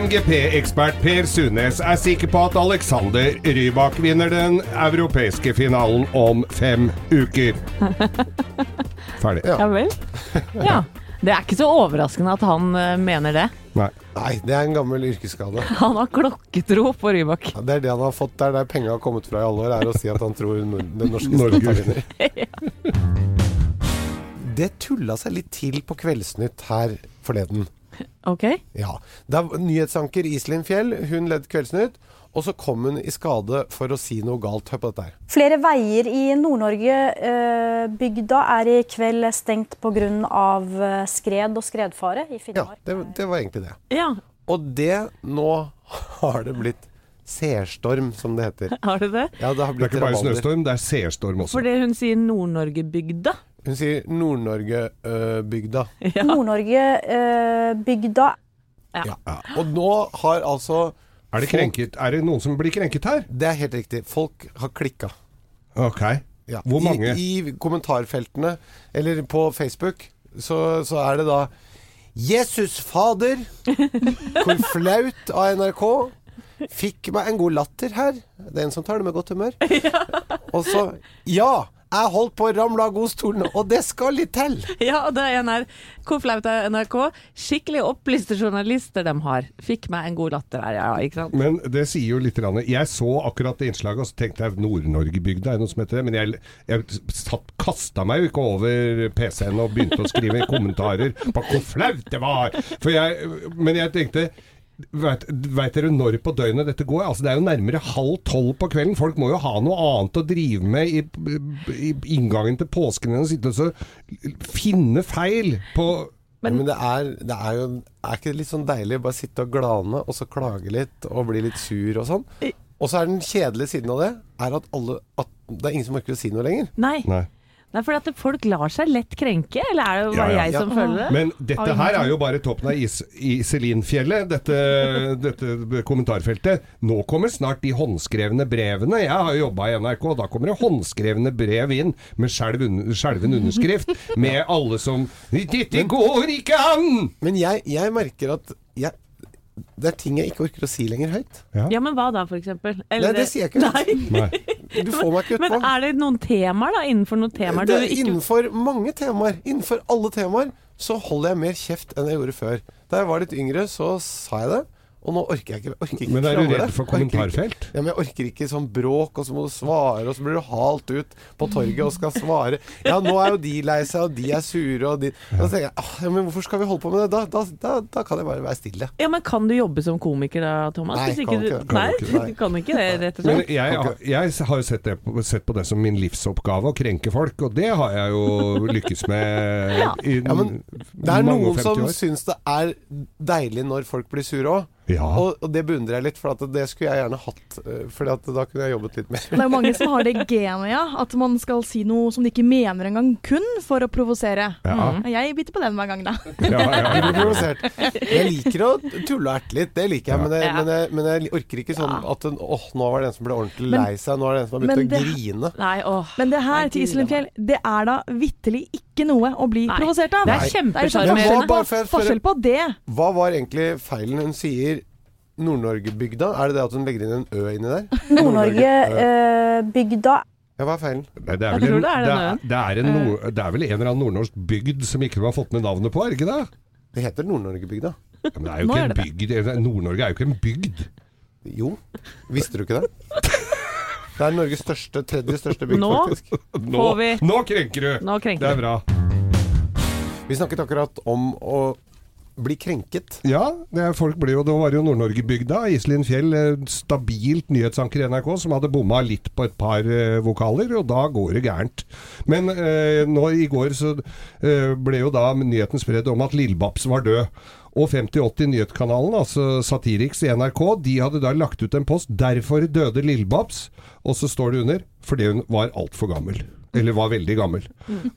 MGP-ekspert Per Sundnes er sikker på at Alexander Rybak vinner den europeiske finalen om fem uker. Ferdig. Ja vel? Ja. Det er ikke så overraskende at han eh, mener det. Nei. Nei, det er en gammel yrkesskade. Han har klokketro på Rybak. Ja, Det er det han har fått. Det er der penga har kommet fra i alle år, er å si at han tror nord den norske Norge. staten vinner. Det tulla seg litt til på Kveldsnytt her forleden. Ok? Ja. Det er nyhetsanker Iselin Fjell. Hun ledd Kveldsnytt. Og så kom hun i skade for å si noe galt. Hør på dette her. Flere veier i Nord-Norge-bygda er i kveld stengt pga. eh, skred og skredfare i Ja, Finnmark. det, det var egentlig det. Ja, Og det Nå har det blitt seerstorm, som det heter. har du det? Ja, det har Det er blitt ikke bare rabalder. snøstorm, det er seerstorm også. For det hun sier Nord-Norge-bygda. Hun sier Nord-Norge-bygda. eh, Nord-Norge-bygda Ja. Og nå har altså Er det, krenket, er det noen som blir krenket her? Det er helt riktig. Folk har klikka. Ok. Ja. Hvor mange? I, I kommentarfeltene, eller på Facebook, så, så er det da Jesus fader, hvor flaut av NRK. Fikk meg en god latter her. Det er en som tar det med godt humør. Og så Ja! Jeg holdt på å ramle av godstolen, og det skal litt til! Ja, og det er en her. Hvor flaut er NRK? Skikkelig opplyste journalister de har. Fikk meg en god latter her, ja, ikke sant? Men det sier jo litt. grann. Jeg så akkurat det innslaget og så tenkte jeg Nord-Norge-bygda er det noe som heter det. Men jeg, jeg satt, kasta meg jo ikke over PC-en og begynte å skrive kommentarer på hvor flaut det var. For jeg, men jeg tenkte Veit vet dere når på døgnet dette går? Altså Det er jo nærmere halv tolv på kvelden. Folk må jo ha noe annet å drive med i, i inngangen til påsken enn å sitte og så finne feil på Men, det, er, det er jo Er ikke det litt sånn deilig å bare sitte og glane, og så klage litt, og bli litt sur og sånn? Og så er den kjedelige siden av det Er at, alle, at det er ingen som orker å si noe lenger. Nei. Nei. Nei, for at folk lar seg lett krenke, eller er det Ja, bare ja. jeg som føler det? Men dette her er jo bare toppen av is Iselinfjellet, dette, dette kommentarfeltet. Nå kommer snart de håndskrevne brevene. Jeg har jo jobba i NRK, og da kommer det håndskrevne brev inn med skjelv un skjelven underskrift. Med alle som 'Dette går ikke an!' Men jeg, jeg merker at jeg, det er ting jeg ikke orker å si lenger høyt. Ja, men hva da, for eksempel? Nei, det sier jeg ikke. Nei. Nei. Du får meg ikke Men utpå. er det noen temaer, da? Innenfor noen temaer du Det er ikke innenfor mange temaer. Innenfor alle temaer så holder jeg mer kjeft enn jeg gjorde før. Da jeg var litt yngre, så sa jeg det. Og nå orker jeg ikke. Orker ikke Men er du krangle. redd for Orker ikke- kommentarfelt? Ja, men jeg orker ikke sånn bråk, og så må du svare, og så blir du halt ut på torget og skal svare. Ja, nå er jo de lei seg, og de er sure, og de Da tenker jeg «Ah, ja, men hvorfor skal vi holde på med det? Da, da, da, da kan jeg bare være stille. Ja, men kan du jobbe som komiker da, Thomas? Nei, Hvis ikke kan du... ikke det. Nei, Kan ikke det. du kan ikke det, rett og Men slett. jeg, jeg har jo sett, det, på- sett på det som min livsoppgave å krenke folk, og det har jeg jo lykkes med i Ja, men det er mange og noen 50 som år. syns det er deilig når folk blir sure òg. Ja. Og, og det beundrer jeg litt, for at det skulle jeg gjerne hatt. For da kunne jeg jobbet litt mer. Det er jo mange som har det genet, ja. At man skal si noe som de ikke mener engang, kun for å provosere. Ja. Ja, Jeg biter på den hver gang, da. Ja, ja, Jeg ja. blir provosert. Jeg liker å tulle og erte litt, det liker jeg. Men jeg, men jeg, men jeg orker ikke sånn at en- åh, nå var det en som ble ordentlig Men- lei seg. Nå er det en som har men begynt å det- grine. Nei, åh. Men det her Nei, til gud, Iselin Fjell, det er da vitterlig ikke noe å bli Nei. provosert av. Det er sånn- Det var kjempesjarmerende. bare for- for- Forskjell på det. Hva var egentlig feilen hun sier? Nord-Norge-bygda? Er det det at hun legger inn en ø inni der? Nord-Norge, ø. Nord-Norge-bygda Ja, hva er feilen? Nei, det, er Jeg vel tror en, det er Eh. det, den er, øyen. det, er en nord, det er vel en eller annen nordnorsk bygd som ikke du har fått med navnet på, er det ikke det? Det heter Nord-Norge-bygda. Ja, men det er jo Nå ikke er en det bygd. Nord-Norge er jo ikke en bygd. Jo, visste du ikke det? Det er Norges største, tredje største bygd, Nå? faktisk. Nå, Får vi- nå krenker du! Nå krenker det du. er bra. Vi snakket akkurat om å bli krenket. Ja, det er, folk ble jo, det var jo Nord-Norge-bygda. Iselin Fjell, eh, stabilt nyhetsanker i NRK, som hadde bomma litt på et par eh, vokaler, og da går det gærent. Men eh, nå i går så eh, ble jo da nyheten spredd om at Lillebabs var død. Og 5080 Nyhetskanalen, altså Satiriks i NRK, de hadde da lagt ut en post 'Derfor døde Lillebabs', og så står det under 'fordi hun var altfor gammel'. Eller var veldig gammel.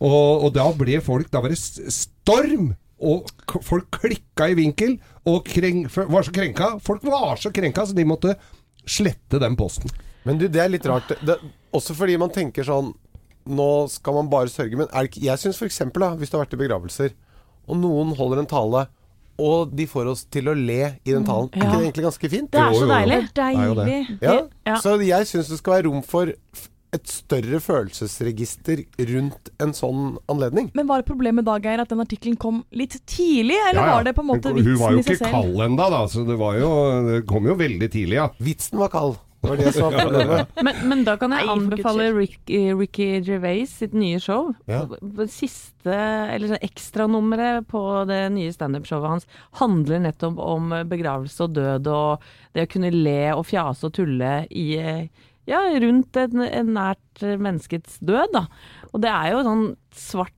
Og, og da ble folk Da var det s- storm! Og k folk klikka i vinkel, og kreng, f- var så krenka. Folk var så krenka, så de måtte slette den posten. Men du, det er litt rart. Det, også fordi man tenker sånn Nå skal man bare sørge. Men er det ikke, jeg syns f.eks. hvis du har vært i begravelser, og noen holder en tale, og de får oss til å le i den talen. Er ikke Mm, det egentlig ganske fint? Det er så Jo, jo, jo. deilig. Det er er jo det. deilig. Ja. Ja. Så jeg syns det skal være rom for f- et større følelsesregister rundt en sånn anledning. Men var problemet da, Geir, at den artikkelen kom litt tidlig? Eller var det på en måte Hun- Hun var vitsen jo i seg ikke selv? kald ennå, da, så det, var jo, det kom jo veldig tidlig, ja. Vitsen var kald. Det var det som var problemet. Men, men da kan jeg Nei, for Guds anbefale skyld. Rick, eh, Ricky Gervais sitt nye show. Ja. B- Siste, eller sånn ekstranummeret på det nye standup-showet hans handler nettopp om eh, begravelse og død og det å kunne le og fjase og tulle i eh, ja, rundt et, et nært menneskets død, da. Og det er jo sånn svart,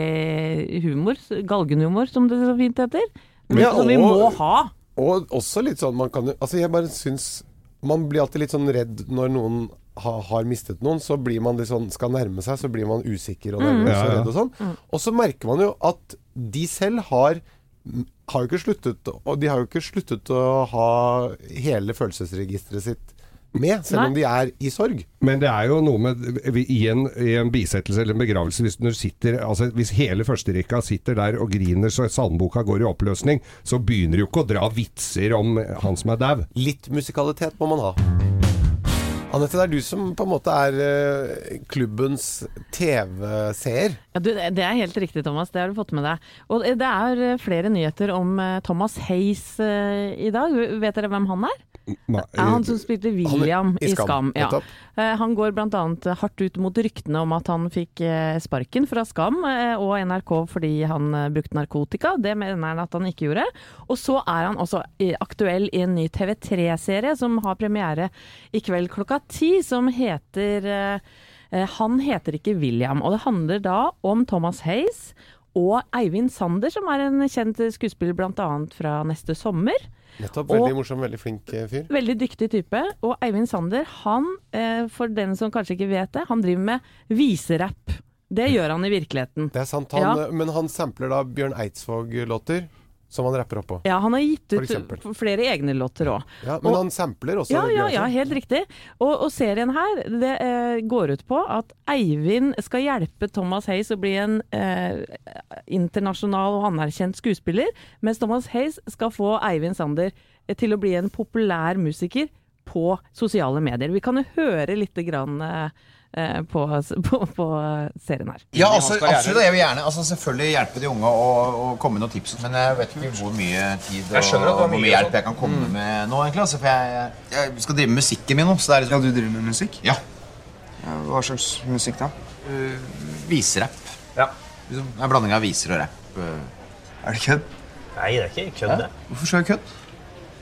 deilig humor, s- galgenhumor, som det så fint heter. Ja, som vi og- må ha. Og også litt sånn man kan jo Altså jeg bare syns Man blir alltid litt sånn redd når noen ha, har mistet noen. Så blir man litt sånn Skal nærme seg, så blir man usikker og nervøs Mm. Ja, og ja. redd og sånn. Og så merker man jo at de selv har har jo ikke sluttet Og de har jo ikke sluttet å ha hele følelsesregisteret sitt med, selv om de er i sorg. Men det er jo noe med I en, i en bisettelse eller en begravelse, hvis, du sitter, altså, hvis hele førsterekka sitter der og griner så salmeboka går i oppløsning, så begynner de jo ikke å dra vitser om han som er dau. Litt musikalitet må man ha. Anette, det er du som på en måte er eh, klubbens TV-seer. Ja, du, det det er helt riktig, Thomas. Det har du fått med deg. Og det er eh, flere nyheter om eh, Thomas Hayes eh, i dag. Vet dere hvem han er? Det er Eh, han som spilte William eh, i i Skam, Skam. ja. nettopp. Eh, Han går bl.a. hardt ut mot ryktene om at han fikk eh, sparken fra Skam eh, og NRK fordi han eh, brukte narkotika. Det mener han at han ikke gjorde. Og så er han også i- aktuell i en ny TV3-serie som har premiere i kveld klokka ti, som heter eh, eh, Han heter ikke William. Og det handler da om Thomas Hayes og Eivind Sander, som er en kjent skuespiller bl.a. fra neste sommer. Nettopp. Og- Veldig morsom, veldig flink eh, fyr. Veldig dyktig type. Og Eivind Sander, han, eh, for den som kanskje ikke vet det, han driver med viserapp. Det gjør han i virkeligheten. Det er sant, han, eh, Ja. men han sampler da Bjørn Eidsvåg-låter som han rapper oppå. Ja, han har gitt For ut eksempel. flere egne låter òg. Ja, men Og- han sampler også. Ja, ja, Bjørn ja, Eidsvåg. helt riktig. Og, og serien her det, eh, går ut på at Eivind skal hjelpe Thomas Hayes å bli en eh, internasjonal og anerkjent skuespiller, mens Thomas Hayes skal få Eivind Sander eh, til å bli en populær musiker på sosiale medier. Vi kan jo høre litt grann, eh, eh, på, på, på eh, serien her. Ja, altså, absolutt. Jeg vil gjerne altså, selvfølgelig hjelpe de unge og, og komme med noen tips. Men jeg vet ikke hvor mye tid og hvor mye hjelp jeg kan komme med nå. egentlig. Altså, for jeg, jeg skal drive med musikken min nå. Så det er liksom, ja, du driver med musikk? Ja. hva slags musikk da? viserapp. Liksom, det er en blanding av viser og rapp. Er det kødd? Nei, det er ikke kødd, det. Hvorfor skal jeg kødd?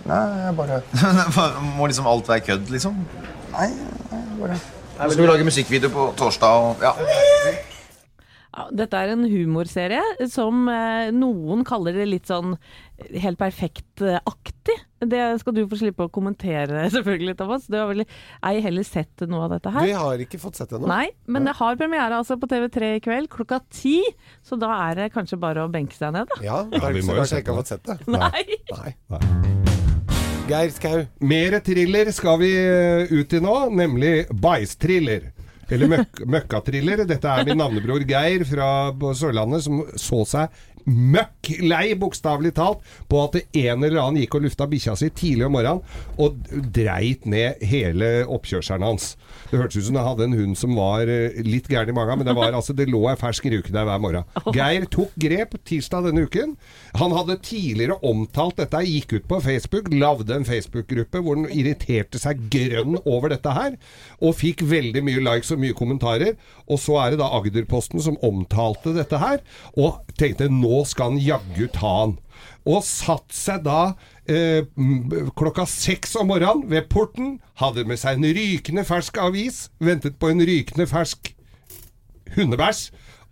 Nei, jeg bare Må liksom alt være kødd, liksom? Nei, bare Nå skal vi lage musikkvideo på torsdag og Ja. Ja, dette er en humorserie som eh, noen kaller det litt sånn helt perfekt-aktig. Det skal du få slippe å kommentere, selvfølgelig, Thomas. Du har vel ei heller sett noe av dette her? Vi har ikke fått sett det ennå. Nei, men det har premiere altså på TV3 i kveld klokka ti, så da er det kanskje bare å benke seg ned, da. Ja, det er vi ikke så må jo kanskje jeg ikke har fått sette sett det. Nei! Nei. Geir Skau. Mer thriller skal vi eh, ut i nå, nemlig bæsj-thriller. Eller møk møkkatriller. Dette er min navnebror Geir fra på Sørlandet som så seg møkk lei, bokstavelig talt, på at det en eller annen gikk og lufta bikkja si tidlig om morgenen og dreit ned hele oppkjørselen hans. Det hørtes ut som han hadde en hund som var eh, litt gæren i magen, men det, var, altså, det lå ei fersk ruke der hver morgen. Geir tok grep tirsdag denne uken. Han hadde tidligere omtalt dette, gikk ut på Facebook, lagde en Facebook-gruppe hvor han irriterte seg grønn over dette her, og fikk veldig mye likes og mye kommentarer. Og så er det da Agderposten som omtalte dette her, og tenkte nå skal han jaggu ta han. Og satt seg da eh, m- klokka seks om morgenen ved porten, hadde med seg en rykende fersk avis, ventet på en rykende fersk hundebæsj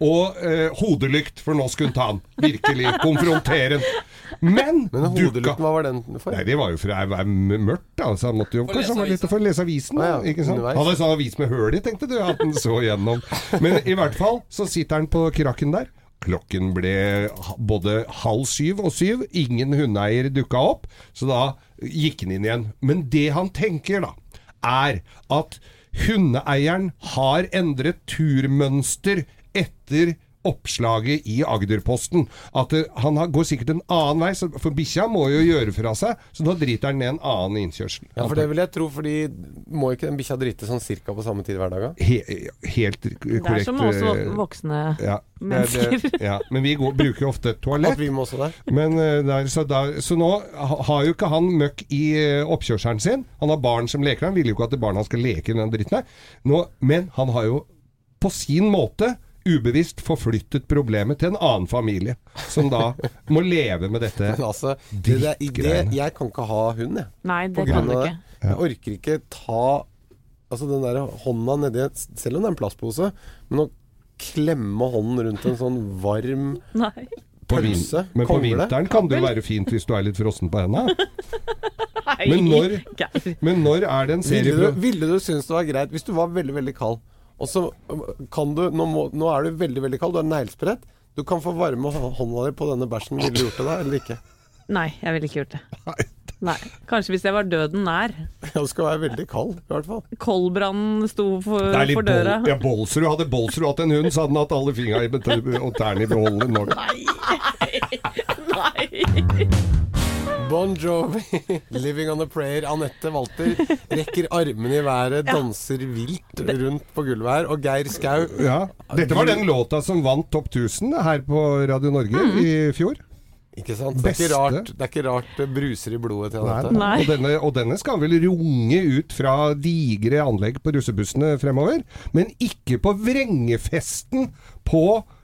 og eh, hodelykt, for nå skulle hun ta han. Virkelig konfrontere han. Men, Men dukka hodelykten, hva var den for? Nei, det var jo fra det var mørkt, da, så han måtte jo kanskje han var litt for å lese avisen. Ah, ja, ikke sant? underveis. Han hadde en sånn avis med høl i, tenkte du, at den så gjennom. Men i hvert fall så sitter han på krakken der. Klokken ble ha- både halv syv og syv. Ingen hundeeier dukka opp, så da gikk han inn igjen. Men det han tenker, da, er at hundeeieren har endret turmønster etter oppslaget i Agderposten. At eh, han har, går sikkert en annen vei, så- for bikkja må jo gjøre fra seg, så nå driter han ned en annen innkjørsel. Ja, for det vil jeg tro, fordi må ikke den bikkja drite sånn cirka på samme tid hver dag? da? He helt korrekt. Det er som med oss eh, vok- voksne ja, det er mennesker. det, ja, men vi går, bruker jo ofte et toalett. At vi må også det? Men, eh, der, så, der, så nå ha- har jo ikke han møkk i eh, oppkjørselen sin. Han har barn som leker. Han vil jo ikke at barna skal leke i den dritten her. Nå, men han har jo på sin måte ubevisst forflyttet problemet til en annen familie, som da må leve med dette. Men altså, det, det, det, jeg kan ikke ha hund, jeg. Nei, På det kan grunn du av ikke. det. Jeg orker ikke ta altså den der hånda nedi Selv om det er en plastpose, men å klemme hånden rundt en sånn varm Nei. På vin- pølse Men på Kommer det? vinteren kan det jo være fint hvis du er litt frossen på henda. Nei. Men når- Geir. Men når er det en serie Ville du, ville du synes det var greit hvis du var veldig, veldig kald? Og så øh, kan du Nå, må, nå er du veldig, veldig kald, du er neglesprett. Du kan få varme hå- hånda di på denne bæsjen. Ville du gjort det da, eller ikke? Nei, jeg ville ikke gjort det. Nei. Kanskje hvis jeg var døden nær. Ja, du skal være veldig kald, i hvert fall. Koldbrannen sto for, Det er litt for døra. bol ja, Bolsrud. Hadde Bolsrud hatt en hund, så hadde han hatt alle fingra i bet- og tærne i beholden. nå. Nei. Bon Jovi, 'Living on a Prayer'. Anette Walter rekker armene i været, danser vilt rundt på gulvet her. Og Geir Skau Ja. Dette var den låta som vant Topp 1000 her på Radio Norge i fjor. Ikke sant? Det er Beste. ikke, rart, det er ikke rart det bruser i blodet til Nei, Anette. Nei. Og, denne, og denne skal vel runge ut fra digre anlegg på russebussene fremover, men ikke på vrengefesten på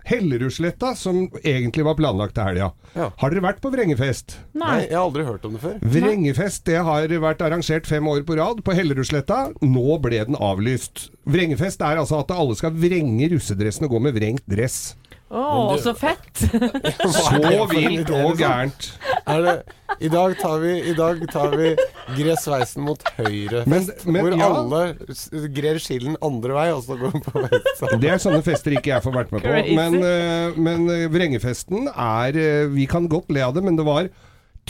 Hellerudsletta, som egentlig var planlagt til helga. Ja. Har dere vært på vrengefest? Nei, jeg har aldri hørt om det før. Vrengefest det har vært arrangert fem år på rad på Hellerudsletta. Nå ble den avlyst. Vrengefest er altså at alle skal vrenge russedressen og gå med vrengt dress. Å, så fett! Så vilt og gærent. Er det, I dag tar vi, i dag tar vi grer sveisen mot høyre. Men- men hvor ja. alle s- grer skillen andre vei, og så går den på venstre. Det er sånne fester ikke jeg får vært med på. Crazy. Men, eh, men eh, vrengefesten er eh, Vi kan godt le av det, men det var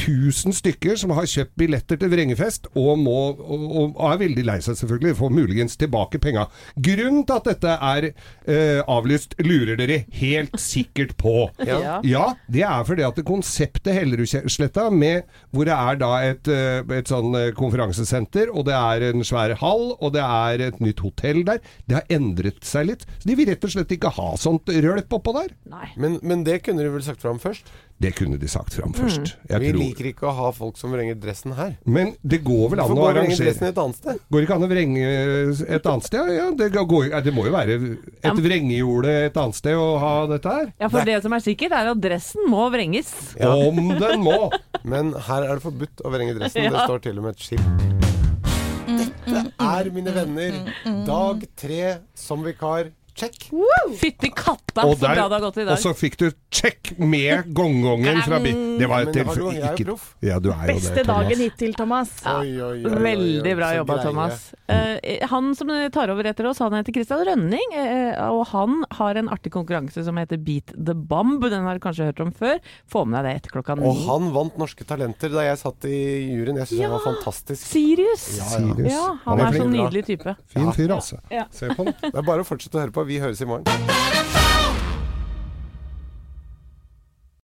1000 stykker som har kjøpt billetter til vrengefest, og, må, og, og er veldig lei seg selvfølgelig, får muligens tilbake penga. Grunnen til at dette er eh, avlyst, lurer dere helt sikkert på. Ja. Ja, det er fordi at det konseptet Hellerudsletta, med- hvor det er da et, eh, et sånn eh, konferansesenter, og det er en svær hall, og det er et nytt hotell der, det har endret seg litt. Så de vil rett og slett ikke ha sånt rølp oppå der. Nei. Men, men det kunne du vel sagt fram først? Det kunne de sagt fram først. Vi Jeg tror. liker ikke å ha folk som vrenger dressen her. Men det går vel an Hvorfor å går vrenger dressen arrangere et annet sted? Går det ikke an å vrenge eh, et annet sted? Ja, det, går, ja, det må jo være et vrengejorde et annet sted å ha dette her. Ja, for det som er sikkert, er at dressen må vrenges. Om den må! Men her er det forbudt å vrenge dressen. Det står til og med et skilt. Dette er, mine venner, dag tre som vikar. Check. Fytti katta, Og så der- bra det har gått i Og dag. så fikk du check med gongongen fra bil. Det var Men til hallo, jeg er jo ikke proff. Ja, du er jo Beste det, Thomas. dagen hittil, Thomas. Oi, oi, oi, oi, oi. Veldig bra Så jobba, greie. Thomas. Eh, han som tar over etter oss, han heter Christian Rønning. eh, og han har en artig konkurranse som heter Beat the Bomb. Den har du kanskje hørt om før. Få med deg det etter klokka ni. Og han vant Norske Talenter da jeg satt i juryen. Jeg syns han var fantastisk. Sirius! Ja, Ja, ja. han Han er er så sånn flink. nydelig type. Fin fyr, altså. Se på den. Det er bare å fortsette å høre på. Vi høres i morgen.